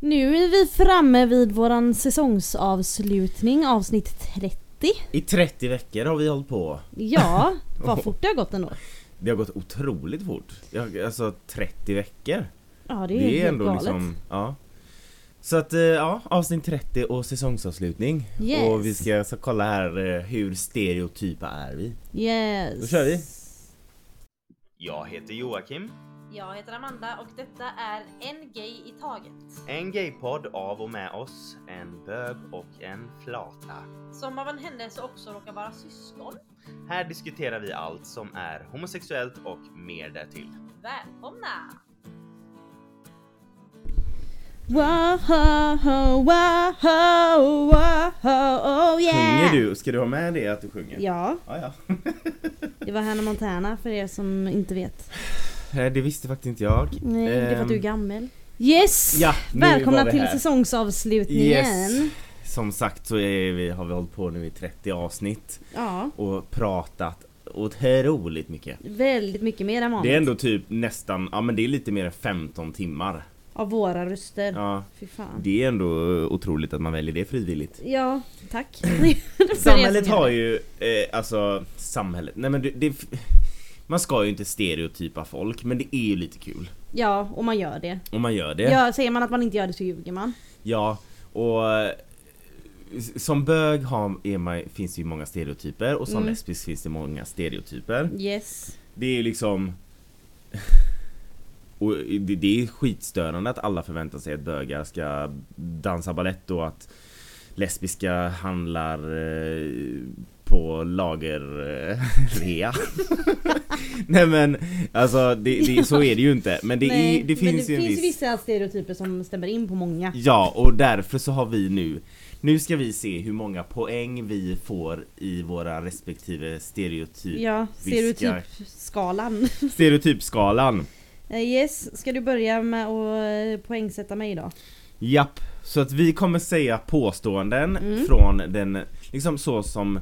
Nu är vi framme vid våran säsongsavslutning, avsnitt 30. I 30 veckor har vi hållit på. Ja, vad fort det har gått ändå. Det har gått otroligt fort. Jag, alltså 30 veckor. Ja, det är, det helt galet. liksom, ja. Så att eh, ja, avsnitt 30 och säsongsavslutning. Yes. Och vi ska så kolla här eh, hur stereotypa är vi? Yes. Då kör vi. Jag heter Joakim. Jag heter Amanda och detta är En Gay i Taget. En gaypodd av och med oss, en bög och en flata. Som av en händelse också råkar vara syskon. Här diskuterar vi allt som är homosexuellt och mer därtill. Välkomna! Wow, wow, wow, oh yeah! Sjunger du? Ska du ha med det att du sjunger? Ja, Ja, det var Hannah Montana för er som inte vet. ja. Eh, Det visste faktiskt inte jag. Nej, det är för att du är Ehm, gammal. Yes! Ja, nu var Välkomna vi till här. säsongsavslutningen. Yes. Som sagt så är vi, har vi hållit på nu i 30 avsnitt Ja, och pratat otroligt mycket. väldigt mycket mer än Det är vanligt. ändå typ nästan, ja men det är lite mer än 15 timmar. Av våra röster. Ja, Fy fan. det är ändå otroligt att man väljer det frivilligt. Ja, tack. För er som Samhället gör det. har ju, eh, alltså samhället, nej men det, det man ska ju inte stereotypa folk men det är ju lite kul Ja, och man gör det. om man gör det. Ja, säger man att man inte gör det så ljuger man. Ja, och eh, s- som bög har, är man, finns det ju många stereotyper och som Mm. lesbisk finns det många stereotyper. Yes. Det är ju liksom... Och det, det är skitstörande att alla förväntar sig att bögar ska dansa ballett och att lesbiska handlar eh, på lagerrea. Nej men alltså det, det, så är det ju inte. Men det, Nej, är, det men finns det ju en finns viss... vissa stereotyper som stämmer in på många. Ja, och därför så har vi nu Nu ska vi se hur många poäng vi får i våra respektive stereotyp, Ja, Viskar. stereotypskalan. stereotypskalan Eh, Yes, ska du börja med att eh, poängsätta mig idag? Japp, så att vi kommer säga påståenden Mm. från den, liksom så som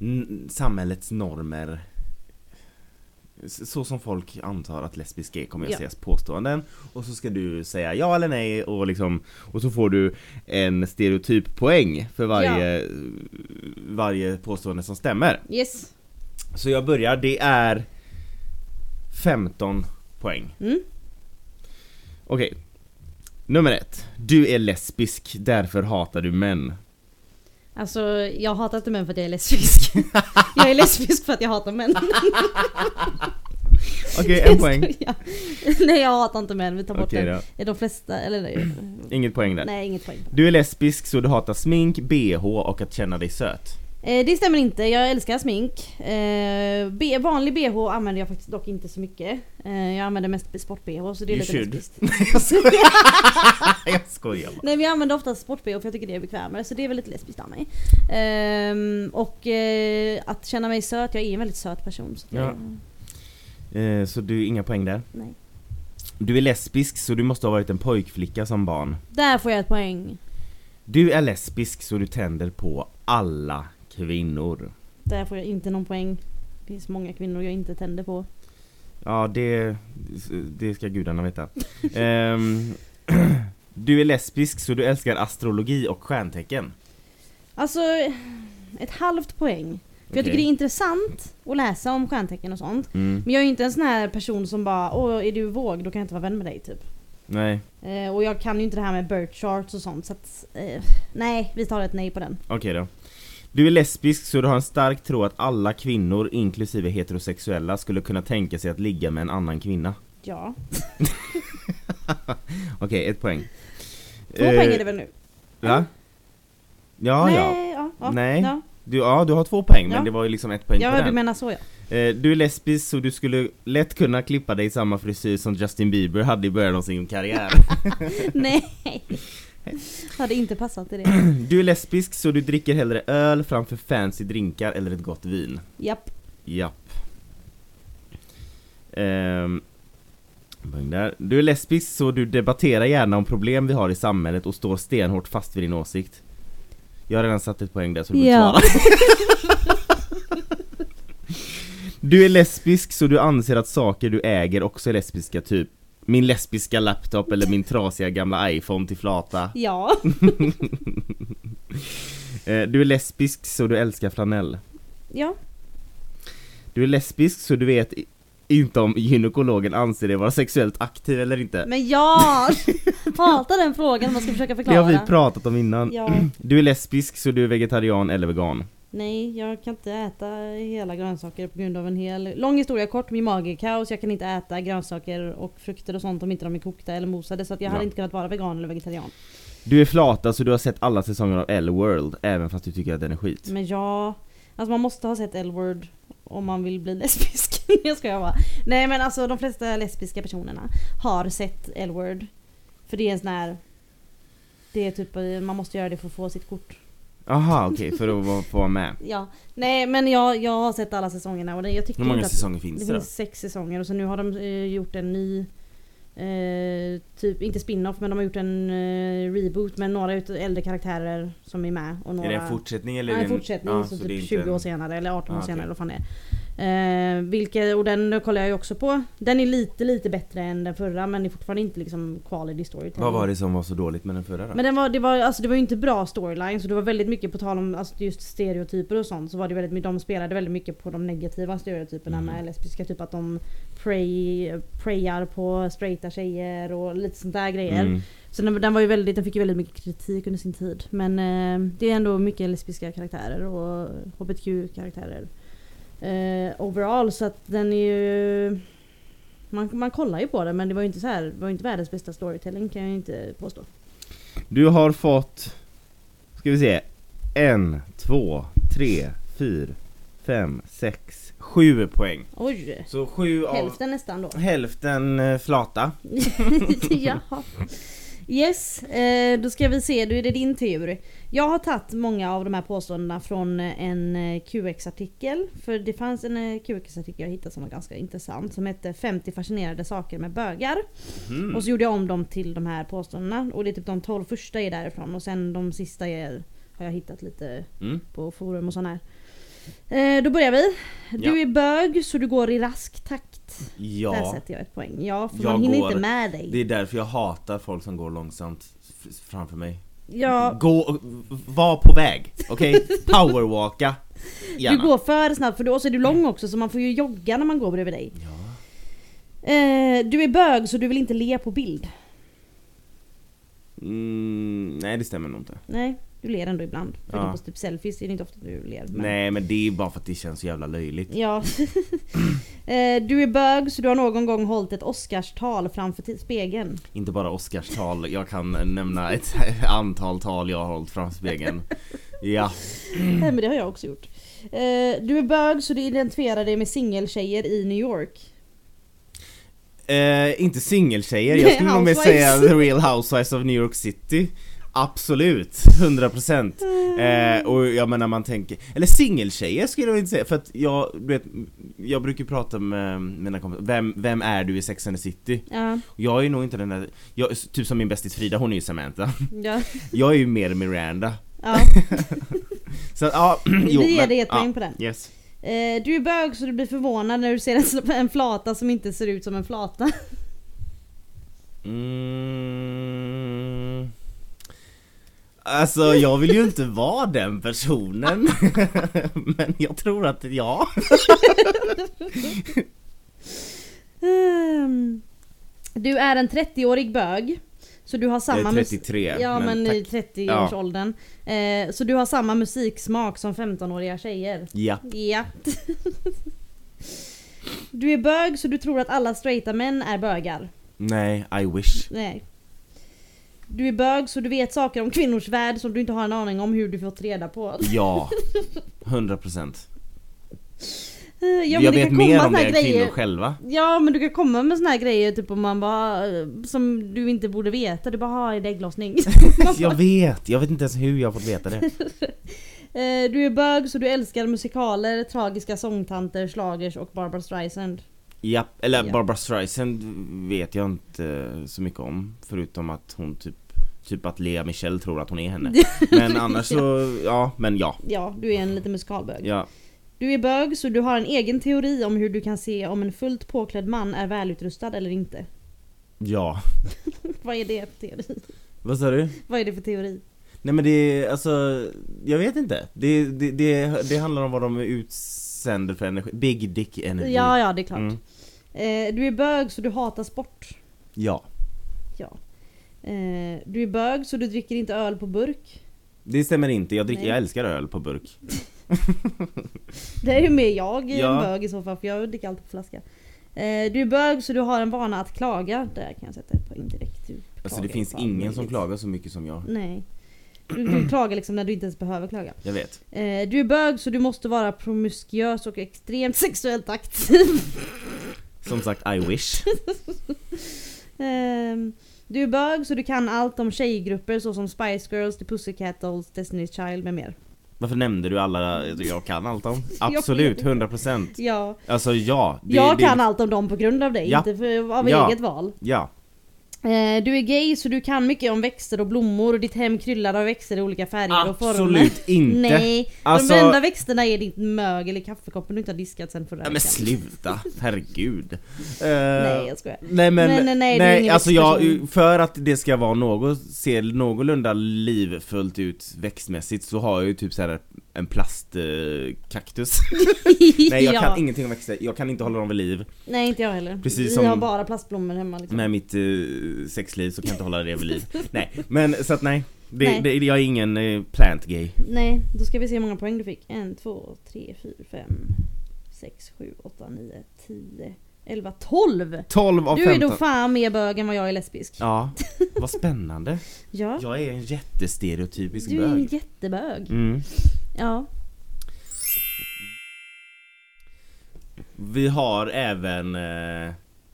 n- samhällets normer S- så som folk antar att lesbiska är kommer jag Ja. säga påståenden och så ska du säga ja eller nej och liksom och så får du en stereotyppoäng för varje varje påstående som stämmer. Yes. Så jag börjar, det är 15 poäng. Mm. Okej. Nummer ett. Du är lesbisk, därför hatar du män. Alltså, jag hatar inte män för att jag är lesbisk. jag är lesbisk för att jag hatar män. Okej, en poäng. Ja. Nej, jag hatar inte män. Vi tar bort Okej den. då, Är de flesta, eller nej. inget poäng där. nej, inget poäng. Du är lesbisk så du hatar smink, bh och att känna dig söt. Eh, det stämmer inte, jag älskar smink. Eh, B- vanlig bh använder jag faktiskt dock inte så mycket. Eh, jag använder mest sport-bh så det är You lite should. lesbiskt. Nej, jag skojar. jag skojar bara. Nej men jag använder ofta sport-bh för jag tycker det är bekvämare så det är väl lite lesbiskt av mig. Ehm, och eh, att känna mig söt, jag är en väldigt söt person. Så det, Ja. Eh, så du, inga poäng där. nej. Du är lesbisk så du måste ha varit en pojkflicka som barn. Där får jag ett poäng. Du är lesbisk så du tänder på alla kvinnor. Där får jag inte någon poäng. Det finns många kvinnor jag inte tänder på. Ja, det, det ska gudarna veta. Ehm, du är lesbisk så du älskar astrologi och stjärntecken. Alltså, ett halvt poäng. För jag tycker Okej. det är intressant att läsa om stjärntecken och sånt. Mm, Men jag är ju inte en sån här person som bara Åh, är du våg då kan jag inte vara vän med dig typ. nej, Eh, och jag kan ju inte det här med birth charts och sånt så att, eh, Nej, vi tar ett nej på den. okej då. Du är lesbisk så du har en stark tro att alla kvinnor, inklusive heterosexuella, skulle kunna tänka sig att ligga med en annan kvinna. Ja. Okej, ett poäng. Två poäng är det väl nu? Va? Eh, Ja, nej, ja. ja, ja, Nej. Ja, Du, ja, du har två poäng men Ja. det var ju liksom ett poäng på ja den. du menar så ja. Eh, Du är lesbisk så du skulle lätt kunna klippa dig i samma frisyr som Justin Bieber hade i början av sin karriär. nej. Hade inte passat i det. Du är lesbisk så du dricker hellre öl framför fancy drinkar eller ett gott vin. Japp. Japp. Ehm, poäng där. Du är lesbisk så du debatterar gärna om problem vi har i samhället och står stenhårt fast vid din åsikt. Jag har redan satt ett poäng där så du behöver Ja. svara. Du är lesbisk så du anser att saker du äger också är lesbiska, typ Min lesbiska laptop eller min trasiga gamla iPhone till flata. Ja. Eh, Du är lesbisk så du älskar flanell. ja. Du är lesbisk så du vet i- inte om gynekologen anser dig vara sexuellt aktiv eller inte. Men ja! Hatar den frågan om man ska försöka Det förklara. har vi pratat om innan. Ja. Du är lesbisk så du är vegetarian eller vegan. Nej, jag kan inte äta hela grönsaker på grund av en hel... Lång historia kort, min mage är kaos. Jag kan inte äta grönsaker och frukter och sånt om inte de är kokta eller mosade. Så att jag hade Ja. inte kunnat vara vegan eller vegetarian. Du är flata så du har sett alla säsonger av L-World även fast du tycker att den är skit. Men ja, alltså man måste ha sett L-word om man vill bli lesbisk. jag skojar bara. Nej men alltså de flesta lesbiska personerna har sett L-word. För det är en sån här... Det är typ, eh, man måste göra det för att få sitt kort. Aha, okej, för att vara- få vara med. Ja, nej men jag, jag har sett alla säsongerna och det, jag tycker Hur många inte att säsonger finns det det då? finns sex säsonger och så nu har de eh, gjort en ny eh, typ, inte spin-off men de har gjort en eh, reboot med några ut- äldre karaktärer som är med och några... Är det en fortsättning eller? Nej, är det en fortsättning Ja, så det är typ inte 20 år en- senare eller 18 år Ah, okej. senare eller vad fan det är. Eh, vilket, och den kollar jag ju också på. Den är lite lite bättre än den förra men det är fortfarande inte liksom quality storytelling. Vad var det som var så dåligt med den förra då? Men den var, det, var, alltså det var ju inte bra storyline så det var väldigt mycket på tal om alltså just stereotyper och sånt så var det väldigt, mycket- de spelade väldigt mycket på de negativa stereotyperna Mhm. med lesbiska. Typ att de pray, prayar på straighta tjejer och lite sånt där grejer. Mm. Så den, den, var ju väldigt, den fick ju väldigt mycket kritik under sin tid. Men eh, det är ändå mycket lesbiska karaktärer och hbtq-karaktärer. Eh, overall så att den är ju... Man, man kollar ju på den men det var ju inte, så här, det var ju inte världens bästa storytelling kan jag ju inte påstå. Du har fått, ska vi se, en, två, tre, fyra, fem, sex, sju poäng. Oj! Så sju av hälften, Hälften nästan då. eh, flata. Jaha. Yes, eh, då ska vi se, då är det din tur. Jag har tagit många av de här påståendena från eh, en eh, QX-artikel. För det fanns en eh, QX-artikel jag hittade som var ganska intressant som hette 50 fascinerande saker med bögar. Mm. Och så gjorde jag om dem till de här påståendena. Och det är typ de 12 första är därifrån och sen de sista är, har jag hittat lite Mm. på forum och sån här. Eh, då börjar vi. Du Ja. är bög så du går i rask takt. Där Ja, sätter jag ett poäng. Ja, för Jag man hinner går- inte med dig. det är därför jag hatar folk som går långsamt f- framför mig. Ja, Gå, var på väg, okej? Powerwalka, gärna. Mm. du går för snabbt för då och så är du lång också så man får ju jogga när man går bredvid dig. Ja. Eh, du är bög så du vill inte le på bild. Mm, nej det stämmer nog inte. Nej, du ler ändå ibland. Förutom Ja. på typ selfies är det inte ofta du ler. men- Nej men det är bara för att det känns så jävla löjligt. Ja. eh, du är bög så du har någon gång hållit ett Oscarstal framför t- spegeln. Inte bara Oscarstal, jag kan nämna ett antal tal jag har hållit framför spegeln. Ja. Mm. Nej men det har jag också gjort. Eh, du är bög så du identifierar dig med singeltjejer i New York. Eh, inte singeltjejer, jag Nej, skulle nog mer housewives. säga The Real Housewives of New York City. Absolut, 100% eh, Och jag menar man tänker, eller singeltjejer skulle jag inte säga för att jag, du vet, jag brukar prata med mina kompisar, vem, vem är du i Sex and the City? Ja. Jag är nog inte den där, jag, typ som min bästis Frida, hon är ju Samantha. Ja. Jag är ju mer Miranda. ja. Så att, ja, jo, Vi ger men- dig ett ja, poäng på den. Yes. Eh, du är bög så du blir förvånad när du ser en sl- en flata som inte ser ut som en flata. Mm. Alltså jag vill ju inte vara den personen Men jag tror att ja Ehm, Du är en 30-årig bög. Så du har samma Jag är mus- 33 Ja men, tack. i 30-årsåldern. Eh, så du har samma musiksmak som 15-åriga tjejer. Ja, Ja. Du är bög så du tror att alla straighta män är bögar. nej I wish Nej. Du är bög så du vet saker om kvinnors värld som du inte har en aning om hur du fått reda på. Ja 100% Eh, Ja, men Jag det kan vet komma mer om såna här det än grejer. kvinnor själva Ja men du kan komma med såna här grejer typ om man bara eh, Som du inte borde veta, du bara har är det ägglossning? Jag vet, jag vet inte ens hur jag har fått veta det Eh, du är bög så du älskar musikaler, tragiska sångtanter, slagers och Barbra Streisand Ja, eller Ja. Barbra Streisand vet jag inte så mycket om Förutom att hon typ Typ att Lea Michele tror att hon är henne Men annars så, ja, men ja Ja, du är en liten musikalbög Ja, Du är bög så du har en egen teori om hur du kan se om en fullt påklädd man är välutrustad eller inte Ja. Vad är det för teori? Vad sa du? Vad är det för teori? Nej men det är alltså, jag vet inte. Det, det, det, det handlar om vad de utsänder för energi. Big dick energy. Ja, ja det är klart. Mm. Eh, du är bög så du hatar sport. ja. Ja. Eh, du är bög så du dricker inte öl på burk. Det stämmer inte, jag, dricker, Nej. jag älskar öl på burk. Det är ju mer jag i Ja. en bög i så fall för jag dricker alltid på flaska. Eh, du är bög så du har en vana att klaga. Där kan jag sätta ett poäng direkt. Du Alltså det klagar finns på allt ingen som möjligt. klagar så mycket som jag. Nej. Du, du klagar liksom när du inte ens behöver klaga. Jag vet. Eh, du är bög så du måste vara promiskuös och extremt sexuellt aktiv. Som sagt, I wish. Ehm, du är bög så du kan allt om tjejgrupper såsom Spice Girls, The Pussycat Dolls, Destiny's Child med mer. Varför nämnde du alla jag kan allt om? Absolut, 100%. Ja, Alltså ja. det- jag det- kan allt om dem på grund av dig, Ja. inte för, av Ja. eget val. Ja. Eh, du är gay så du kan mycket om växter och blommor och ditt hem kryllar av växter i olika färger och former. Absolut inte. Nej, Alltså- de enda växterna är ditt mögel i kaffekoppen du inte har diskat sen förra Ja, men veckan. sluta, herregud. Eh, Nej jag skojar. Nej men, Nej, nej, nej, nej, du är ingen alltså jag, växtperson. för att det ska vara något, se någorlunda livfullt ut växtmässigt så har jag ju typ så här en plastkaktus. nej jag Ja. kan ingenting om växter, jag kan inte hålla dem vid liv. Nej inte jag heller. Precis Vi som- har bara plastblommor hemma liksom. Med mitt eh, sexliv så kan jag inte hålla det vid liv. Nej, men så att nej. Det, Nej. Det, jag är ingen eh, plant gay. Nej, då ska vi se hur många poäng du fick. 1, 2, 3, 4, 5, 6, 7, 8, 9, 10, 11, 12! 12 av Du är då 15. fan mer bög än vad jag är lesbisk. Ja, vad spännande. Ja, Jag är en jättestereotypisk du är en bög. jättebög. Mm. Ja. Vi har även... Eh,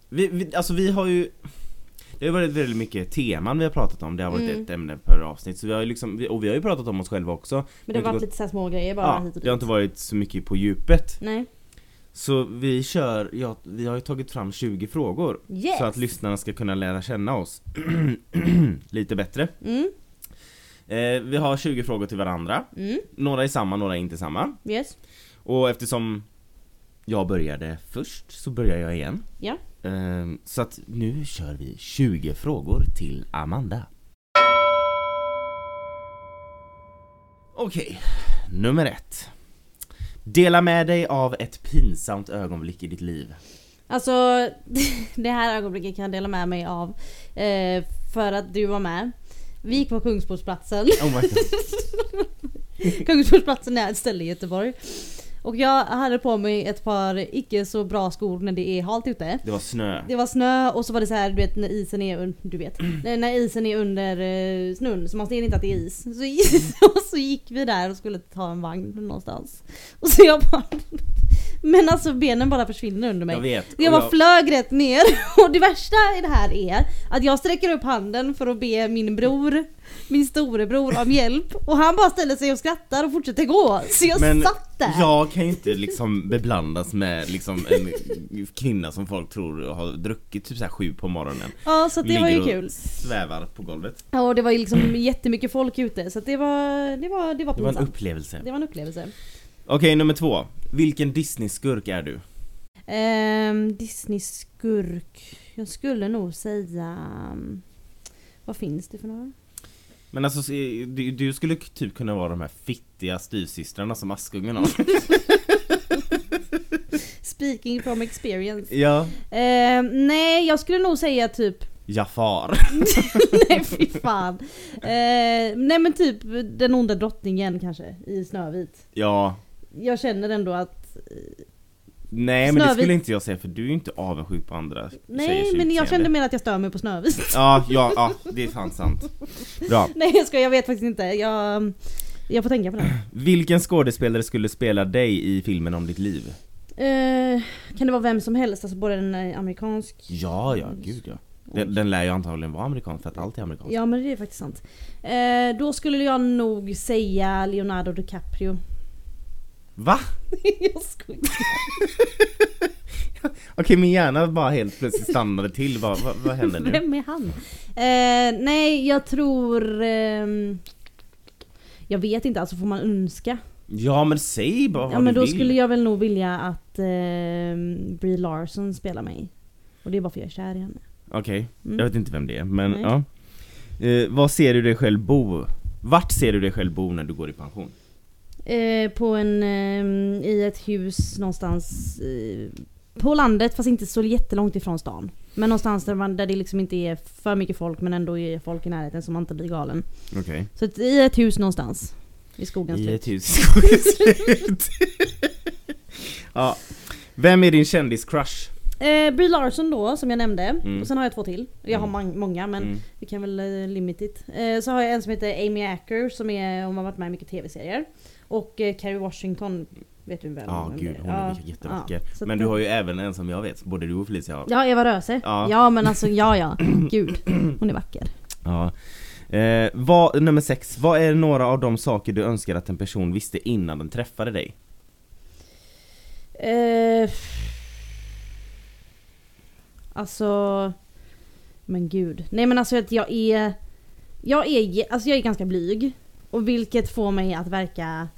vi, vi, alltså vi har ju... Det har varit väldigt mycket teman vi har pratat om, det har varit Mm. ett ämne per avsnitt. Så vi har ju liksom, vi- och vi har ju pratat om oss själva också. Men det har har varit inte lite så här små grejer bara ja, hit och det har dit. inte varit så mycket på djupet. Nej. Så vi kör, ja, vi har ju tagit fram 20 frågor. Yes! Så att lyssnarna ska kunna lära känna oss lite bättre. Mm, Eh, vi har 20 frågor till varandra. mm, Några är samma, några är inte samma. yes. Och eftersom jag började först så börjar jag igen. Ja. Ehm, Så att nu kör vi 20 frågor till Amanda. Okej, nummer ett. Dela med dig av ett pinsamt ögonblick i ditt liv. Alltså, det här ögonblicket kan jag dela med mig av. Eh, för att du var med. Vi gick på Kungsportsplatsen. Oh my God. Kungsportsplatsen är ett ställe i Göteborg. Och jag hade på mig ett par icke så bra skor när det är halt ute. Det var snö. Det var snö och så var det så här, du vet när isen är under, du vet. Mm. När- När isen är under eh, snön så man ser inte att det är is. Så, Mm. och så gick vi där och skulle ta en vagn någonstans. Och så jag bara... Men alltså benen bara försvinner under mig. Jag vet. Jag Och bara flög rätt ner och det värsta i det här är att jag sträcker upp handen för att be min bror, min storebror om hjälp och han bara ställer sig och skrattar och fortsätter gå. Så jag Men satt där. jag kan ju inte liksom beblandas med liksom en kvinna som folk tror har druckit typ så här sju på morgonen. Ja så att det var ju Ligger och kul. svävar på golvet. Ja och det var ju liksom jättemycket folk ute så att det var, det var, det var Det var en pinsamt. upplevelse. Det var en upplevelse. Okej, nummer två. Vilken Disney-skurk är du? Ehm, Disney-skurk. Jag skulle nog säga... mm, Vad finns det för några? Men alltså, så är- du, du skulle k- typ kunna vara de här fittiga styvsystrarna som Askungen har. Speaking from experience. ja. Ehm, nej, jag skulle nog säga typ Jafar. Nej fy fan. Eh, nej men typ den onda drottningen kanske i Snövit. Ja. Jag känner ändå att... Nej men det Snövit. skulle inte jag säga för du är ju inte avundsjuk på andra tjejers Nej men jag utseende. kände mer att jag stör mig på Snövit. Ja, ja, ja, det är fan sant. Bra. nej jag skojar, jag vet faktiskt inte. Jag, jag får tänka på det. Vilken skådespelare skulle spela dig i filmen om ditt liv? Eh, kan det vara vem som helst? Alltså både en eh, amerikansk... Ja, ja, gud ja. Den, den lär ju antagligen vara amerikansk för att allt är amerikanskt. Ja men det är faktiskt sant. Eh, då skulle jag nog säga Leonardo DiCaprio. Va? jag skojar. Okej min hjärna bara helt plötsligt stannade till, vad, vad, vad händer nu? Vem är han? Eh, nej, jag tror... ehm, jag vet inte, alltså får man önska? Ja men säg bara vad Ja men du då vill. skulle jag väl nog vilja att ehm, Brie Larson spelar mig. Och det är bara för jag är kär i henne. Okej, Mm. jag vet inte vem det är men Nej. ja. Eh, vad ser du dig själv bo? Vart ser du dig själv bo när du går i pension? Eh, på en, ehm, I ett hus någonstans eh, på landet fast inte så jättelångt ifrån stan. Men någonstans där, man, där det liksom inte är för mycket folk men ändå är folk i närheten så man inte blir galen. Okej. Så att, i ett hus någonstans. I typ. skogens I slut. ett hus i skogens slut. ja. Vem är din kändiscrush? Eh, Brie Larson då som jag nämnde. Mm. Och sen har jag två till. Jag har Mm. mang- många men Mm. vi kan väl eh, limit it. Eh, så har jag en som heter Amy Acker som är, hon har varit med i mycket tv-serier. Och eh, Carrie Washington vet du vem Ja, vem gud det hon är Ja, vilken jättevacker. ja. Så Men att- du har ju även en som jag vet, både du och Felicia har. Ja, Eva Röse. Ja. Ja. men alltså ja ja. Gud, hon är vacker. Ja. Eh, vad, nummer sex, vad är några av de saker du önskar att en person visste innan den träffade dig? Eh, alltså... Men gud. Nej men alltså att jag är... Jag är, ge- alltså, jag är ganska blyg. Och vilket får mig att verka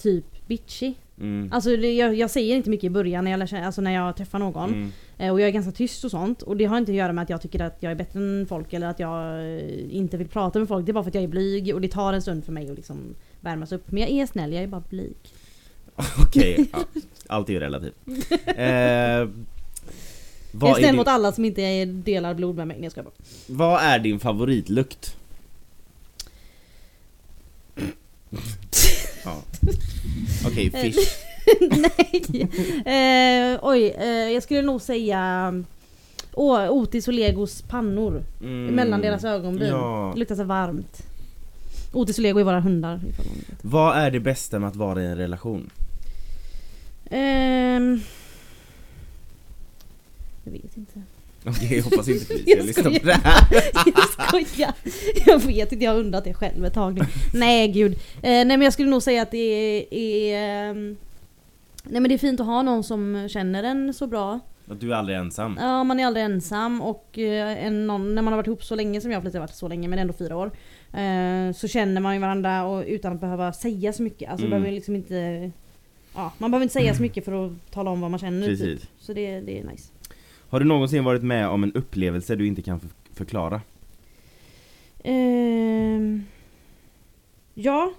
typ bitchy. Mm. Alltså det, jag, jag säger inte mycket i början när jag, lär, känna- alltså, när jag träffar någon. Mm. Eh, Och jag är ganska tyst och sånt. Och det har inte att göra med att jag tycker att jag är bättre än folk eller att jag eh, inte vill prata med folk. Det är bara för att jag är blyg och det tar en stund för mig att liksom värmas upp. Men jag är snäll, jag är bara blyg. Okej, ja. allt är ju relativt. jag Eh, är vad, snäll är din, mot alla som inte är- delar blod med mig. Nej, jag skojar bara. vad är din favoritlukt? ja. Okej, Eh, fish. Nej. Eh, oj, eh, jag skulle nog säga Åh, Otis och Legos pannor. Mm. Mellan deras ögonbryn. Ja. Det luktar så varmt. Otis och Lego är våra hundar. ifall Mm. någon vet. Vad är det bästa med att vara i en relation? Ehm. Jag vet inte. Okej, jag hoppas inte Felicia Jag lyssnar på skojar. det här. Jag skojar. Jag vet inte, jag har undrat det själv ett tag nu. Nej gud. Eh, nej men jag skulle nog säga att det är... är ehm, nej men det är fint att ha någon som känner en så bra. Att du är aldrig ensam. Ja, man är aldrig ensam och eh, en, någon, när man har varit ihop så länge som jag har varit så länge men ändå fyra år. Eh, så känner man ju varandra och, utan att behöva säga så mycket. Alltså Mm. behöver liksom inte... Ja, man behöver inte säga så mycket för att tala om vad man känner. Typ. Precis. Så det, det är nice. Har du någonsin varit med om en upplevelse du inte kan för- förklara? Ehm, ja.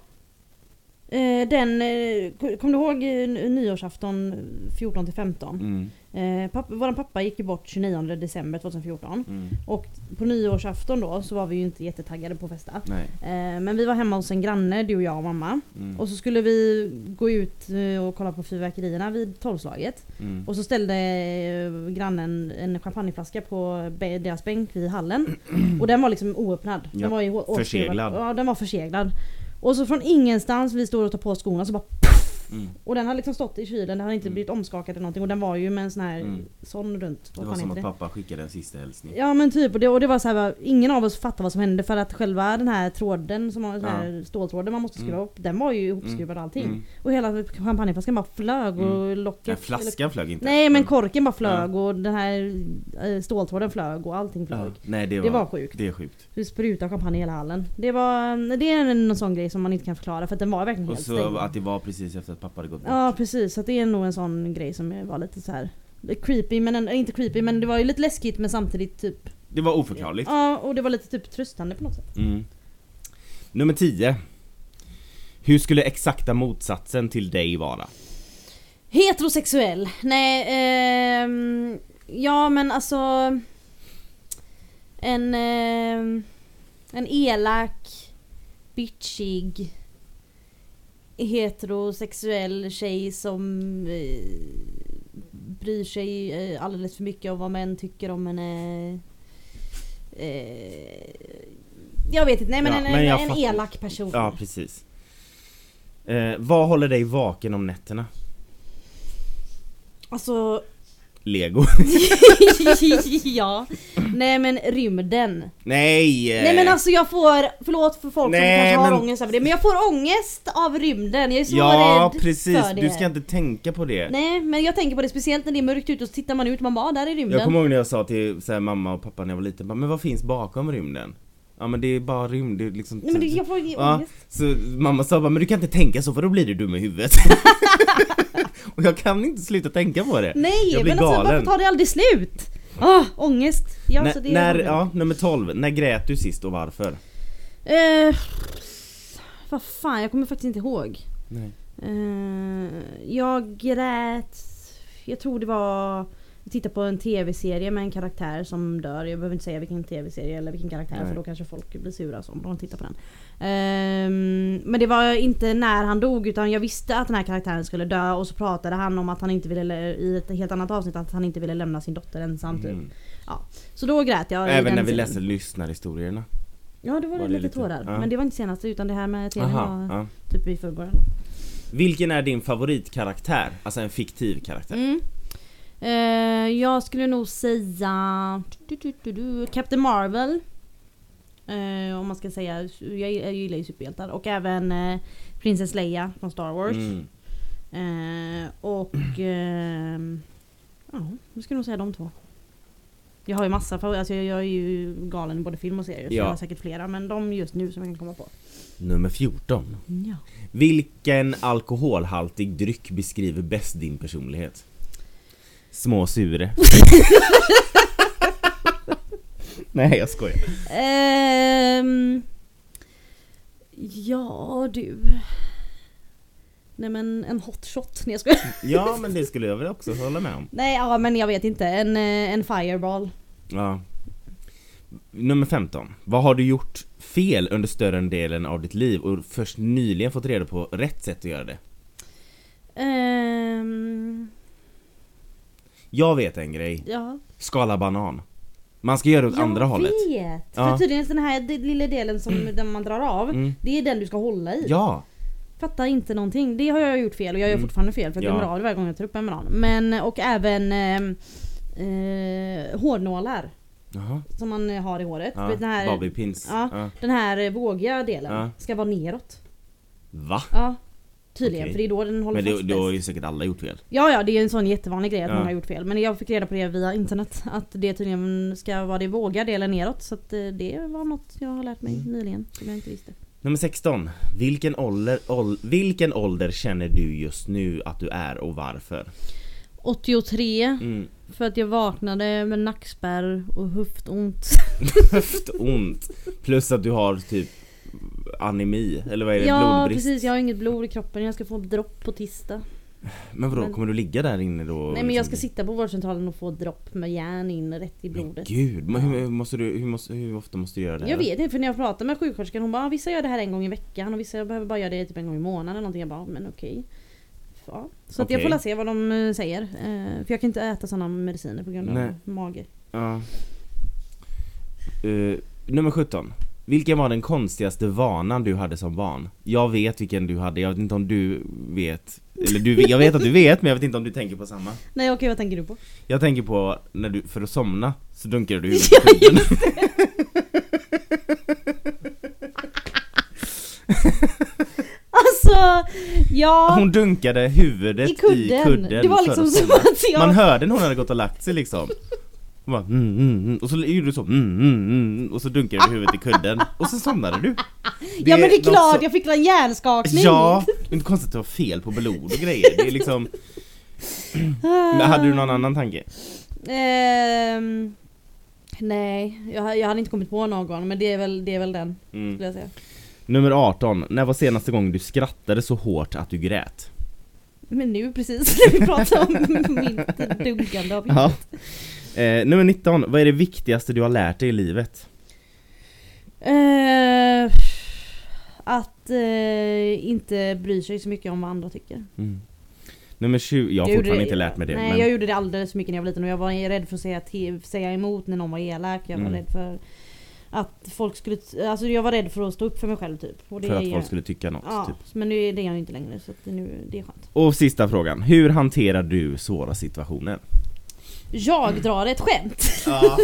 Eh, den, eh, ko- kom du ihåg eh, nyårsafton 14 till 15? Mm. Eh, pappa, våran pappa gick ju bort 29 december 2014. Mm. Och på nyårsafton då så var vi ju inte jättetaggade på att festa. Nej. Eh, men vi var hemma hos en granne, du och jag och mamma. Mm. Och så skulle vi gå ut eh, och kolla på fyrverkerierna vid tolvslaget. Mm. Och så ställde eh, grannen en champagneflaska på bä- deras bänk vid hallen. Och den var liksom oöppnad. Den Ja, var ju å- åtskriven. förseglad. Ja, den var förseglad. Och så från ingenstans, vi står och tar på oss skorna så bara Mm. Och den hade liksom stått i kylen, den hade inte Mm. blivit omskakad eller någonting. Och den var ju med en sån här Mm. sån runt. Det Vad var fan som heter att pappa skickade en sista hälsning. Ja men typ, och det, och det var så här, bara, ingen av oss fattade vad som hände för att själva den här tråden, som har den här ståltråden man måste skruva upp, den var ju ihopskruvad och allting. Mm. Och hela champagneflaskan bara flög och locket... Nej, flaskan flög inte. Mm. Nej men korken bara flög och den här eh, ståltråden flög och allting flög. Ja. Nej, det var, Det var sjukt. Det är sjukt. Vi sprutade champagne i hela hallen. Det var, eh, det är en sån grej som man inte kan förklara för att den var verkligen Och helt så stängd. att det var precis efter att pappa hade gått bort. Ja precis, så att det är nog en sån grej som var lite så här creepy men en, inte creepy men det var ju lite läskigt men samtidigt typ Det var oförklarligt. Ja och det var lite typ tröstande på något sätt. Mm. Nummer 10. Hur skulle exakta motsatsen till dig vara? Heterosexuell? Nej, ehm, ja men alltså En, ehm, en elak, bitchig, heterosexuell tjej som eh, bryr sig eh, alldeles för mycket om vad män tycker om henne. Eh, jag vet inte, nej men Ja, en, men jag en, en fattar. elak person. Ja, precis. Eh, vad håller dig vaken om nätterna? Alltså Lego? ja. Nej men rymden. Nej! eh, Nej men alltså jag får, förlåt för folk Nej, som kanske har men- ångest över det, men jag får ångest av rymden. Jag är så Ja rädd precis, för det. du ska inte tänka på det. Nej men jag tänker på det speciellt när det är mörkt ute och så tittar man ut och man bara "Ah, där är rymden. Jag kommer ihåg när jag sa till så här, mamma och pappa när jag var liten, bara, men vad finns bakom rymden? Ja men det är bara rymd, det är liksom Nej men det, jag får ångest. Ja, så mamma sa bara, men du kan inte tänka så för då blir du dum i huvudet. och jag kan inte sluta tänka på det. Nej jag blir men alltså galen. varför tar det aldrig slut? Åh, ångest! Ja, så det när, är när, ångest. ja, nummer 12. När grät du sist och varför? Eh, vad fan, jag kommer faktiskt inte ihåg. Nej. Eh, jag grät... Jag tror det var... Jag tittade på en tv-serie med en karaktär som dör. Jag behöver inte säga vilken tv-serie eller vilken karaktär Nej. för då kanske folk blir sura så om de tittar på den. Ehm, men det var inte när han dog utan jag visste att den här karaktären skulle dö och så pratade han om att han inte ville, i ett helt annat avsnitt, att han inte ville lämna sin dotter ensam typ. Mm. Så då grät jag. i Även den när vi scenen. läste lyssnarhistorierna. Ja det var, Var det lite, lite- tårar. ja. Men det var inte senaste utan det här med tv Aha, var ja. typ i förrgår. Vilken är din favoritkaraktär? Alltså en fiktiv karaktär. Mm. Eh, jag skulle nog säga du, du, du, du, Captain Marvel. Eh, om man ska säga. Jag, jag gillar ju superhjältar. Och även eh, Princess Leia från Star Wars. Mm. Eh, och... ehm, ja, jag skulle nog säga de två. Jag har ju massa favoriter. Alltså jag, jag är ju galen i både film och serier. Så Ja. jag har säkert flera. Men de just nu som jag kan komma på. Nummer 14. Ja. Vilken alkoholhaltig dryck beskriver bäst din personlighet? Små sure. Nej jag skojar. Ehm, ja du. Nej men en hot shot. Nej jag skojar. Ja men det skulle jag väl också hålla med om. Nej ja, men jag vet inte. En, eh, en fireball. Ja. Nummer 15. Vad har du gjort fel under större delen av ditt liv och först nyligen fått reda på rätt sätt att göra det? Ehm, Jag vet en grej. ja. Skala banan. Man ska göra det åt andra hållet. Jag vet. Ja. För tydligen den här d- lilla delen som den man drar av. Mm. Det är den du ska hålla i. Ja! Fattar inte någonting. Det har jag gjort fel och jag gör Mm. fortfarande fel för att Ja. jag drar av det varje gång jag tar upp en banan. Men eh, och även ehm, eh, hårnålar Jaha. som man eh, har i håret. Ja. Den här- Bobby pins. Ja. Ja. Den här eh, vågiga delen Ja. ska vara neråt. Va? Ja, tydligen. Okej. För det är då den håller Men det, fast då har bäst. ju säkert alla gjort fel. Ja, ja, det är en sån jättevanlig grej att Ja. många har gjort fel. Men jag fick reda på det via internet. Att det tydligen ska vara det vågiga delen neråt. Så att eh, det var något jag har lärt mig Mm. nyligen som jag inte visste. Nummer 16. Vilken ålder, ål, vilken ålder känner du just nu att du är och varför? 83 Mm. för att jag vaknade med nackspärr och höftont. Höftont. Plus att du har typ anemi, eller vad är det? Ja Blodbrist. precis, jag har inget blod i kroppen. Jag ska få dropp på tisdag. Men vadå, Men- kommer du ligga där inne då? Liksom? Nej men jag ska sitta på vårdcentralen och få dropp med järn in rätt i Men blodet. gud, men hur, hur, måste du, hur, måste, hur ofta måste du göra det här? Jag vet inte för när jag pratar med sjuksköterskan hon bara "Ah, vissa gör det här en gång i veckan och vissa behöver bara göra det typ en gång i månaden eller någonting. Jag bara men okej. Ja. Så att jag får Okej. la se vad de eh, säger. Eh, För jag kan inte äta sådana mediciner på grund av Nej. mage. Ja. Eh, nummer 17. Vilken var den konstigaste vanan du hade som barn? Jag vet vilken du hade, jag vet inte om du vet. Eller du, jag vet att du vet men jag vet inte om du tänker på samma. Nej okej vad tänker du på? Jag tänker på när du, för att somna, så dunkade du huvudet i kudden. Alltså ja. Hon dunkade huvudet I kudden. i kudden Det var för liksom att som somna. att jag... Man hörde när hon hade gått och lagt sig liksom. Hon bara, mm, mm, mm. Och så gjorde du så, mm, mm, mm. och så dunkade du huvudet i kudden. Och sen somnade du. ja men det är något klart så- jag fick en hjärnskakning. Ja, det är inte konstigt att du har fel på blod och grejer. Det är liksom, Ah. men hade du någon annan tanke? Ehm, nej, jag, jag hade inte kommit på någon men det är väl, det är väl den Mm. skulle jag säga. Nummer 18. När var senaste gången du skrattade så hårt att du grät? Men nu precis när vi pratar om mitt dunkande av Ja. Eh, nummer 19. Vad är det viktigaste du har lärt dig i livet? Eh, Att eh, inte bry sig så mycket om vad andra tycker. Mm. Nummer 20. Jag har gjorde fortfarande det- inte lärt mig det. Nej men... jag gjorde det alldeles för mycket när jag var liten och jag var rädd för att säga, till, säga emot när någon var elak. Jag var Mm. rädd för att folk skulle... Alltså jag var rädd för att stå upp för mig själv typ. Och det För är- att folk skulle tycka något. Ja, Typ. men nu är det jag ju inte längre så att nu, det är skönt. Och sista frågan. Hur hanterar du svåra situationer? Mm. Jag drar ett skämt. Ja,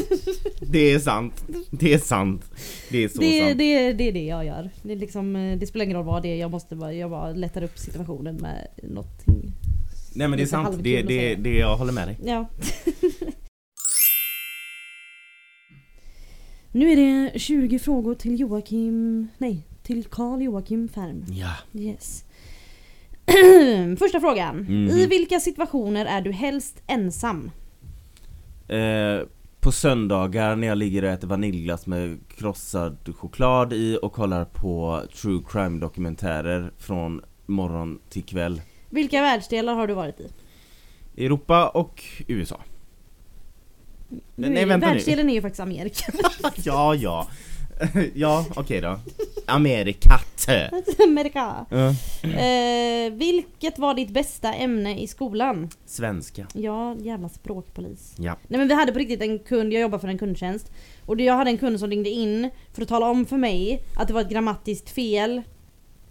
det är sant. Det är sant. Det är så Det, sant. det, det är det jag gör. Det, är liksom, eh, det spelar ingen roll vad det är, jag, måste bara, jag bara lättar upp situationen med någonting. Nej men det är lite sant. halvkul Det, att det, säga. det, jag håller med dig. Ja. nu är det 20 frågor till Joakim, nej, till Carl Joakim Färm. Ja. Yes. Första frågan. Mhm. I vilka situationer är du helst ensam? Eh, på söndagar när jag ligger och äter vaniljglass med krossad choklad i och kollar på true crime dokumentärer från morgon till kväll. Vilka världsdelar har du varit i? Europa och USA. Nu Nej, är, vänta nu. världsdelen är ju faktiskt Amerika. Ja, ja. ja, okej då. Amerikat. Amerika. Eh, vilket var ditt bästa ämne i skolan? Svenska. Ja, jävla språkpolis. Ja. Nej men vi hade på riktigt en kund, jag jobbar för en kundtjänst. Och det- jag hade en kund som ringde in för att tala om för mig att det var ett grammatiskt fel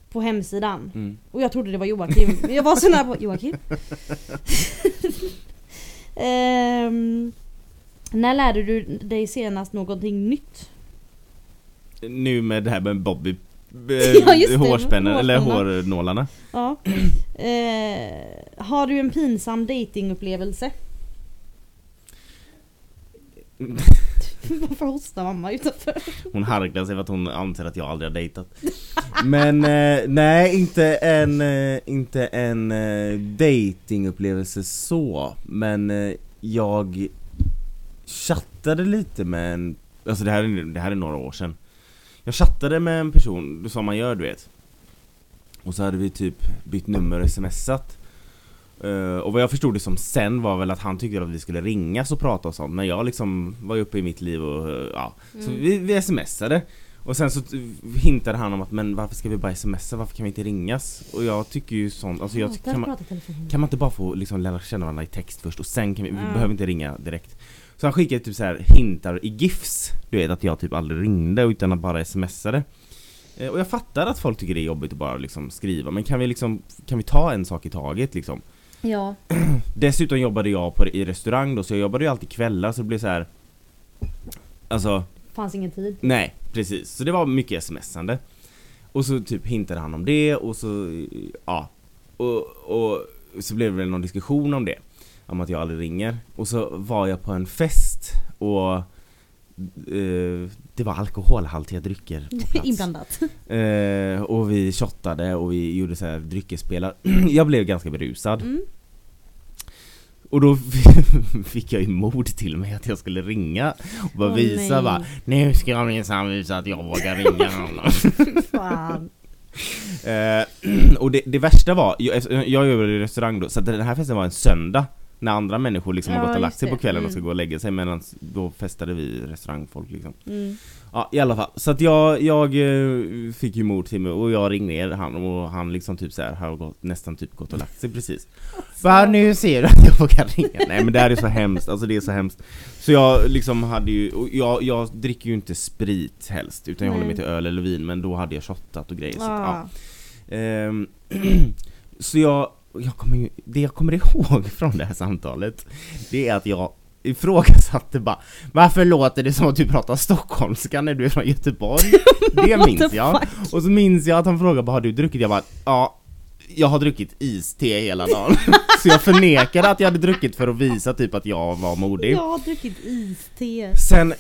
på hemsidan. Mm. Och jag trodde det var Joakim. Jag var så nära på Joakim. Ehm, när lärde du dig senast någonting nytt? Nu med det här med Bobby eh, Ja, just det, hårspännen, eller hårspänna. hårnålarna. Ja. Eh, har du en pinsam datingupplevelse? Varför hostar mamma utanför? Hon harklar sig för att hon anser att jag aldrig har dejtat. Men eh, nej, inte en, eh, inte en eh, datingupplevelse så. Men eh, jag chattade lite med en, alltså det här, är, det här är några år sedan. Jag chattade med en person, som man gör du vet. Och så hade vi typ bytt nummer och smsat. Eh, och vad jag förstod det som sen var väl att han tyckte att vi skulle ringas och prata och sånt. Men jag liksom var ju uppe i mitt liv och eh, ja, så Mm. vi, vi smsade Och sen så t- hintade han om att men varför ska vi bara smsa, varför kan vi inte ringas? Och jag tycker ju sånt, alltså jag, Hatar att kan, man, prata i telefon. kan man inte bara få liksom lära känna varandra i text först och sen kan vi, vi Ja. behöver inte ringa direkt Så han skickade typ så här hintar i GIFs Du vet att jag typ aldrig ringde utan att bara smsade Eh, Och jag fattar att folk tycker det är jobbigt att bara liksom skriva men kan vi liksom, kan vi ta en sak i taget liksom? Ja. Dessutom jobbade jag på, i restaurang då så jag jobbade ju alltid kvällar så det blev så här. Alltså Fanns ingen tid. Nej, precis. Så det var mycket smsande. Och så typ hintade han om det och så, ja. Och, och så blev det väl någon diskussion om det. Om att jag aldrig ringer. Och så var jag på en fest och eh, det var alkoholhaltiga drycker på plats. Inblandat. Eh, och vi shottade och vi gjorde så här dryckesspelar. jag blev ganska berusad. Mm. Och då fick jag ju mod till mig att jag skulle ringa och bara Åh, visa nej. bara Nu ska jag minsann visa att jag vågar ringa honom Fan. eh, Och det, det värsta var, jag, jag jobbade i restaurang då, så att den här festen var en söndag När andra människor liksom Ja, har gått och lagt just sig på det. kvällen Mm. och ska gå och lägga sig medan då festade vi restaurangfolk liksom Mm. Ja i alla fall, så att jag, jag eh, fick ju mod till mig och jag ringde ner han och han liksom typ så här har gått, nästan typ gått och lagt sig precis Va nu ser du att jag vågar ringa? Nej men det här är så hemskt, alltså det är så hemskt Så jag liksom hade ju, och jag, jag dricker ju inte sprit helst utan jag Nej. håller mig till öl eller vin men då hade jag shottat och grejer så, att, ja. Ah. Ehm, så jag, jag kommer ju, det jag kommer ihåg från det här samtalet Det är att jag ifrågasatte bara Varför låter det som att du pratar stockholmska när du är från Göteborg? Det What the minns jag Och så minns jag att han frågade bara har du druckit? Jag bara ja jag har druckit iste hela dagen Så jag förnekade att jag hade druckit för att visa typ att jag var modig Jag har druckit iste. Sen,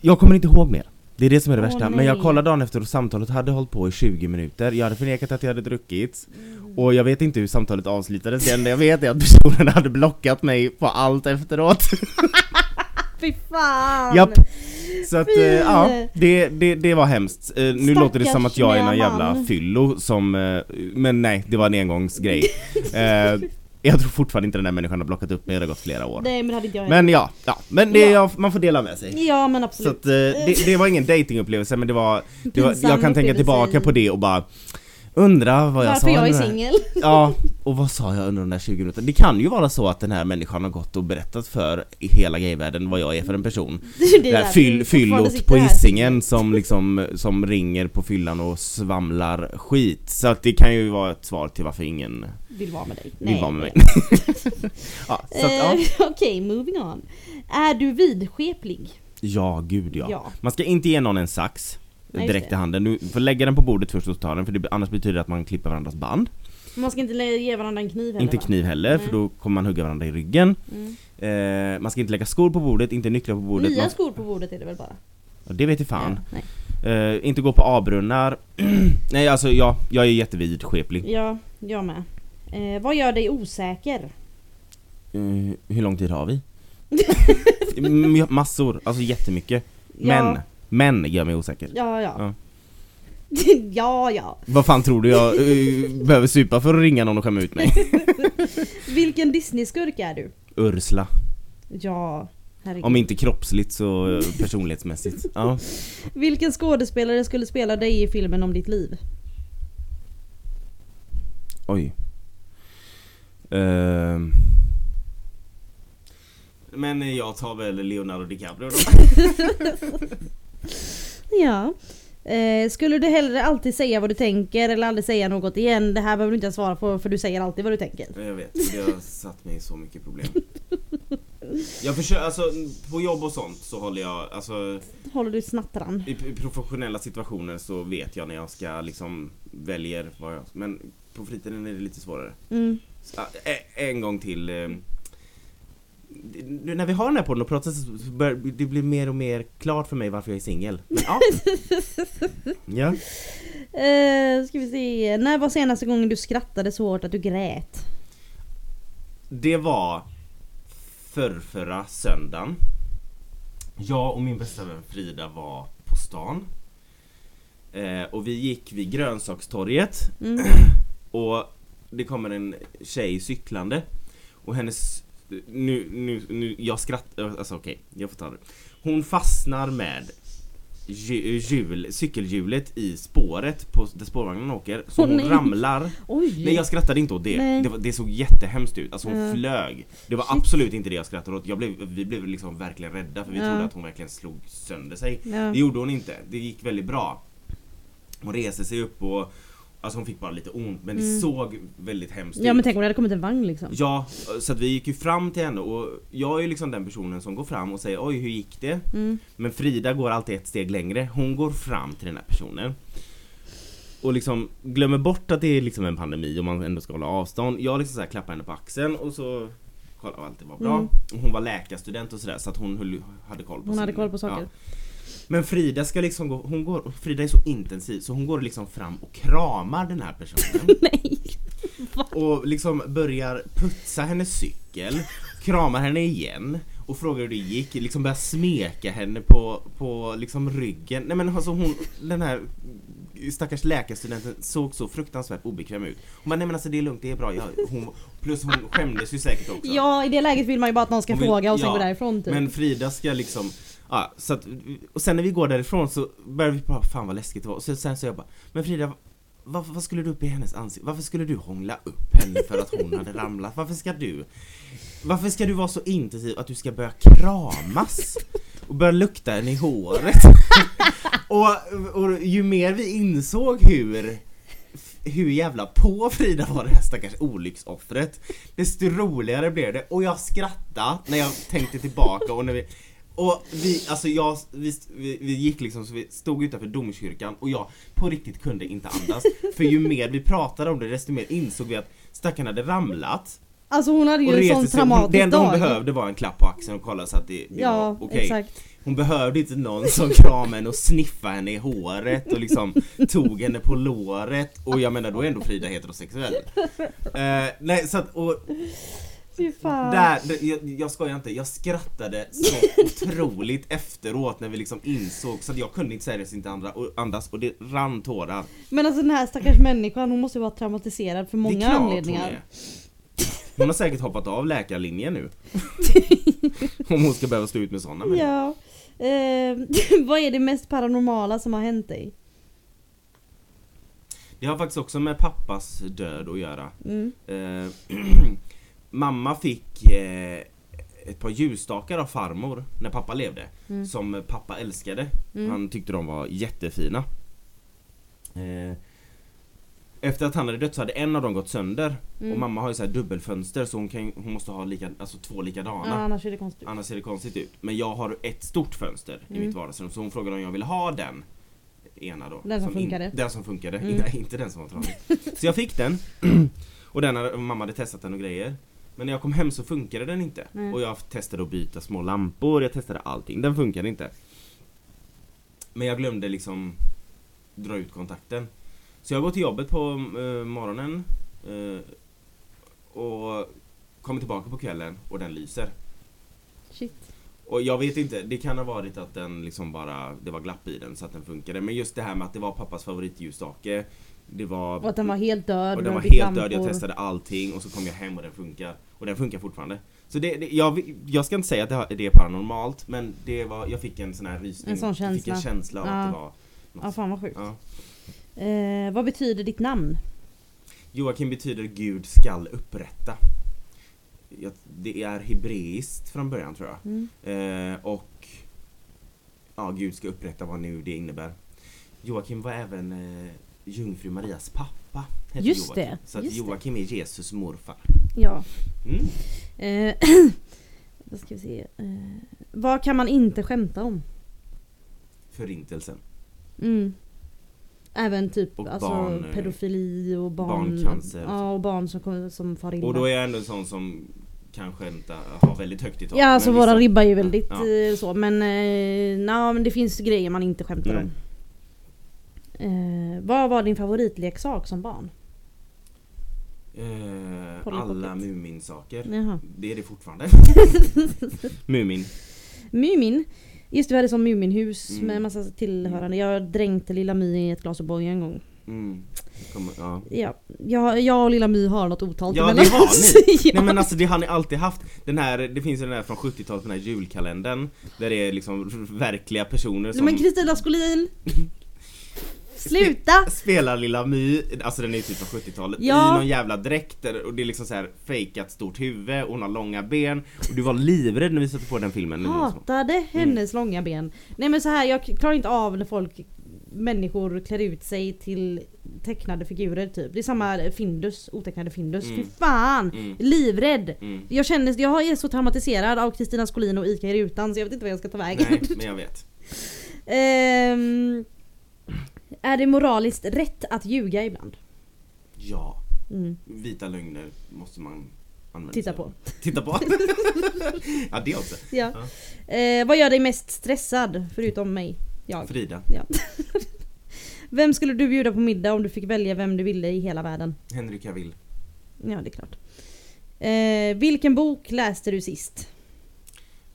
jag kommer inte ihåg mer. Det är det som är det Åh, värsta. Men nej. jag kollade dagen efter och samtalet hade hållit på i 20 minuter. Jag hade förnekat att jag hade druckit. Mm. Och jag vet inte hur samtalet avslutades. Det enda jag vet är att personen hade blockat mig på allt efteråt. Fy fan! Japp. Så att, eh, ja. Det, det, det var hemskt. Eh, nu Stackars låter det som att jag är någon lilla jävla man. fyllo som, eh, men nej, det var en engångsgrej. eh, jag tror fortfarande inte den där människan har blockat upp mig, det har gått flera år. Nej men det hade inte jag heller. Men ja, ja. Men det, Ja. man får dela med sig. Ja men Så absolut. att, eh, det, det var ingen datingupplevelse men det var, det var Pinsam jag kan tänka upplevelse tillbaka i- på det och bara Undra vad jag Varför sa jag är under den här- singel? Ja, och vad sa jag under de där 20 minuterna? Det kan ju vara så att den här människan har gått och berättat för i hela gayvärlden vad jag är för en person Det är Det här därför fyll, vi fortfarande fyllot sitter på här. hissingen som liksom, som ringer på fyllan och svamlar skit Så att det kan ju vara ett svar till varför ingen Vill vara med dig. vill vara med mig ja, så att, Eh, ja. Okej, moving on. Är du vidskeplig? ja, gud ja. Ja. Man ska inte ge någon en sax Nej, just direkt i det. handen. Du får lägga den på bordet först och ta den för det, annars betyder det att man klipper varandras band. Man ska inte le- ge varandra en kniv heller inte va? kniv heller Nej. för då kommer man hugga varandra i ryggen. Mm. Eh, man ska inte lägga skor på bordet, inte nycklar på bordet. Nya man, skor på bordet är det väl bara? Ja, det vet jag fan. Ja, nej. Eh, inte gå på avbrunnar. Nej alltså ja, jag är jättevidskeplig. ja jag med. Eh, vad gör dig osäker? Eh, hur lång tid har vi? Mm, Massor, alltså jättemycket. Men, men gör mig osäker. Ja, ja. Ja. ja, ja. Vad fan tror du jag eh, behöver supa för att ringa någon och skämma ut mig? Vilken Disney-skurk är du? Ursla. Ja, herregud. Om inte kroppsligt så eh, personlighetsmässigt. Ja. Vilken skådespelare skulle spela dig i filmen om ditt liv? Oj. Ehm. Men eh, jag tar väl Leonardo DiCaprio då. Ja. Eh, skulle du hellre alltid säga vad du tänker eller aldrig säga något igen? Det här behöver du inte ens svara på för du säger alltid vad du tänker. Ja, Jag vet, det har satt mig i så mycket problem. Jag försöker, alltså på jobb och sånt så håller jag, alltså Håller du snattran? i, i professionella situationer så vet jag när jag ska liksom väljer vad jag, men på fritiden är det lite svårare. Mm. Så, ä- en gång till. eh, Nu när vi har den här podden och pratar så så bör, det blir mer och mer klart för mig varför jag är singel. Men ja. ja. Eh, ska vi se. När var senaste gången du skrattade så hårt att du grät? Det var förrförra söndagen. Jag och min bästa vän Frida var på stan. Eh, och vi gick vid grönsakstorget Mm. och det kommer en tjej cyklande och hennes... Nu, nu, nu, jag skrattar, alltså okej, jag får ta det. Hon fastnar med ju- hjul, cykelhjulet i spåret på där spårvagnen åker, så Åh, hon nej. ramlar Oj! Nej jag skrattade inte åt det, Nej. det, var, det såg jättehemskt ut, alltså hon Ja. flög Det var Shit. absolut inte det jag skrattade åt, jag blev, vi blev liksom verkligen rädda för vi Ja. trodde att hon verkligen slog sönder sig Ja. Det gjorde hon inte, det gick väldigt bra Hon reste sig upp och Alltså hon fick bara lite ont men det Mm. såg väldigt hemskt Ja ut men tänk om det hade kommit en vagn liksom. Ja, så att vi gick ju fram till henne och jag är ju liksom den personen som går fram och säger oj hur gick det? Mm. Men Frida går alltid ett steg längre. Hon går fram till den här personen. Och liksom glömmer bort att det är liksom en pandemi och man ändå ska hålla avstånd. Jag liksom så här klappar henne på axeln och så kollar om allt det var bra. Mm. Och Hon var läkarstudent och sådär så att hon höll, hade koll på Hon hade sin- koll på saker. Men Frida ska liksom gå, hon går, Frida är så intensiv så hon går liksom fram och kramar den här personen. Nej! och liksom börjar putsa hennes cykel, kramar henne igen och frågar hur det gick, liksom börjar smeka henne på, på liksom ryggen. Nej men alltså hon, den här stackars läkarstudenten såg så fruktansvärt obekväm ut. Hon bara, nej men alltså det är lugnt, det är bra. Jag, hon, plus hon skämdes ju säkert också. Ja i det läget vill man ju bara att någon ska Hon vill- fråga och sen ja, gå därifrån typ. Men Frida ska liksom Ja, så att, och sen när vi går därifrån så börjar vi bara, fan vad läskigt det var. Och så, sen så jag bara, men Frida, varför, vad skulle du upp i hennes ansikte? Varför skulle du hångla upp henne för att hon hade ramlat? Varför ska du? Varför ska du vara så intensiv att du ska börja kramas? Och börja lukta henne i håret? Och, och ju mer vi insåg hur hur jävla på Frida var det här stackars olycksoffret Desto roligare blev det och jag skrattade när jag tänkte tillbaka och när vi och vi, alltså jag, vi, vi, vi gick liksom så vi stod utanför domkyrkan och jag på riktigt kunde inte andas För ju mer vi pratade om det desto mer insåg vi att stackaren hade ramlat Alltså hon hade och ju en reste sån sig upp. Det traumatisk enda hon dag. behövde var en klapp på axeln och kolla så att det, det Ja var okej exakt. hon behövde inte någon som kramade henne och sniffade henne i håret och liksom tog henne på låret och jag menar då är ändå Frida heterosexuell. Eh, nej så att, och Fy fan. Mm. där, det- jag, jag skojar inte, jag skrattade så otroligt efteråt när vi liksom insåg så att jag kunde inte seriöst inte andra, och andas och det rann tårar. Men alltså den här stackars människan hon måste ju vara traumatiserad för det många är klart Hon, anledningar. är. hon har säkert hoppat av läkarlinjen nu. Om hon ska behöva stå ut med sådana människor. Ja. Eh, vad är det mest paranormala som har hänt dig? Det har faktiskt också med pappas död att göra. Mm. Eh, mamma fick eh, ett par ljusstakar av farmor när pappa levde. Mm. Som pappa älskade. Mm. Han tyckte de var jättefina. Eh, efter att han hade dött så hade en av dem gått sönder. Mm. Och mamma har ju så här dubbelfönster så hon, kan, ju- hon måste ha lika, alltså två Ja, likadana. annars är det konstigt. Annars ser det konstigt ut. Men jag har ett stort fönster Mm. i mitt vardagsrum så hon frågade om jag ville ha den ena då. Den som funkade. In, den som funkade, Mm. Nej, inte den som var trasig. Så jag fick den. Och den hade, mamma hade testat den och grejer. Men när jag kom hem så funkade den inte. Nej. Och jag testade att byta små lampor, jag testade allting. Den funkade inte. Men jag glömde liksom dra ut kontakten. Så jag går till jobbet på eh, morgonen eh, och kommer tillbaka på kvällen och den lyser. Shit. Och jag vet inte, det kan ha varit att den liksom bara, det var glapp i den så att den funkade. Men just det här med att det var pappas favoritljusstake. Det var... Och att den var helt död. några Och den var bytt helt död, lampor. jag testade allting och så kom jag hem och den funkar. Och den funkar fortfarande. Så det, det, jag, jag ska inte säga att det, har- det är paranormalt men det var, jag fick en sån här rysning. En sån Jag fick en känsla. känsla av Ja. att det var Ja fan vad sjukt. ja. Eh, vad betyder ditt namn? Joakim betyder Gud skall upprätta. Jag, det är hebreiskt från början tror jag. Mm. Eh, och ja, Gud ska upprätta vad nu det innebär. Joakim var även eh, jungfru Marias pappa. hette Just Joakim. det, Så att just det. Joakim är Jesus morfar. Ja. Mm. Eh, vad ska vi se. Eh, vad kan man inte skämta om? Förintelsen. Mm. Även typ Och alltså, barn, eh, pedofili och barn, barncancer. Ja, och barn som, kommer- som far illa. Och då är jag ändå en sån som kan skämta, ha väldigt högt i tak. ja, alltså Men våra vissa- ribbar är ju väldigt Ja. eh, så. Men, eh, na, men det finns grejer man inte skämtar Nej. om. Eh, vad var din favoritleksak som barn? Eh, Polly alla Pocket. Muminsaker. Jaha. Det är det fortfarande. Mumin. Mumin. Just det, vi hade sån Muminhus Mm. med massa tillhörande. Jag dränkte Lilla My i ett glas O'boy en gång. Mm. Kommer, ja. Ja. Jag, jag och Lilla My har något otalt Ja det emellan oss. har ni! ja. Nej men alltså det har ni alltid haft. Den här, det finns ju den här från 70-talet, den här julkalendern. Där det är liksom verkliga personer Nej, som men Kristina Skolin! Sluta! spelar Lilla My, alltså den är ju typ från 70-talet, Ja. i någon jävla dräkt där- och det är liksom så här fejkat stort huvud och hon har långa ben. Och du var livrädd när vi satte på den filmen. när vi var små. Hatade hennes långa ben. Nej men så här, jag klarar inte av när folk, människor klär ut sig till tecknade figurer typ. Det är samma Findus, otecknade Findus. Mm. Fy fan! Mm. Livrädd! Mm. Jag känner, jag är så traumatiserad av Kristina Skolin och Ica i rutan så jag vet inte vad jag ska ta vägen. Nej men jag vet. Ehm, är det moraliskt rätt att ljuga ibland? Ja. Mm. Vita lögner måste man använda Titta sig av. på. Titta på. ja det också. Ja. Eh, vad gör dig mest stressad? Förutom mig. Jag. Frida, Ja. Vem skulle du bjuda på middag om du fick välja vem du ville i hela världen? Henry Cavill. Ja, det är klart. Eh, vilken bok läste du sist?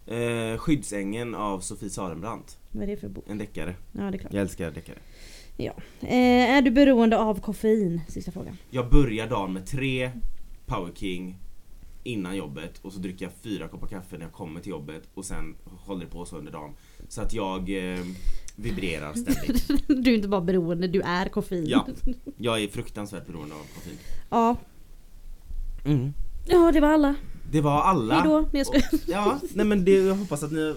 Eh, Skyddsängen av Sofie Sarenbrant. Vad är det för bok? En deckare. Ja, det är klart. Jag älskar deckare. Eh, är du beroende av koffein? Sista frågan. Jag börjar dagen med tre Power King innan jobbet och så dricker jag fyra koppar kaffe när jag kommer till jobbet och sen håller det på så under dagen. Så att jag eh, vibrerar ständigt. Du är inte bara beroende, du är koffein. Ja, jag är fruktansvärt beroende av koffein. Ja, Mm. ja det var alla. Det var alla. Hejdå. Nej, jag skojar. Och- Ja, nej men det, jag hoppas att ni...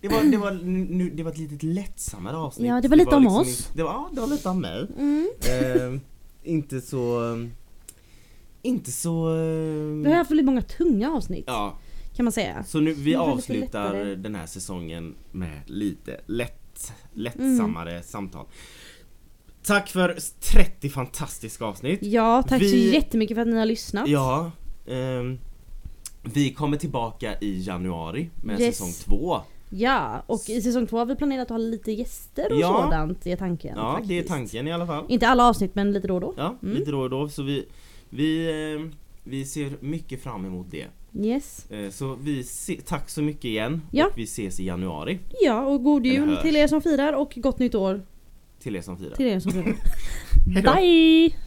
Det var, det var, nu, det var ett litet lättsammare avsnitt. Ja, det var lite om oss. Det var, ja, det var lite om mig. Mm. eh, inte så... eh, Inte så... eh, Vi har haft väldigt många tunga avsnitt Ja, kan man säga. så nu, vi Det var lite avslutar lättare. den här säsongen med lite lätt, lättsammare Mm. samtal. Tack för 30 fantastiska avsnitt. Ja, tack så Vi- jättemycket för att ni har lyssnat. Ja. ehm, vi kommer tillbaka i januari med Yes. säsong två. Ja, och i säsong två har vi planerat att ha lite gäster och Ja. sådant är tanken. Ja, faktiskt. det är tanken i alla fall. Inte alla avsnitt men lite då och då. Ja, Mm. lite då och då. Så vi, vi, ehm, vi ser mycket fram emot det. Yes. Eh, Så vi se- tack så mycket igen Ja. och vi ses i januari Ja och god Eller jul hörs. till er som firar och gott nytt år till er som firar. till er som firar. Bye!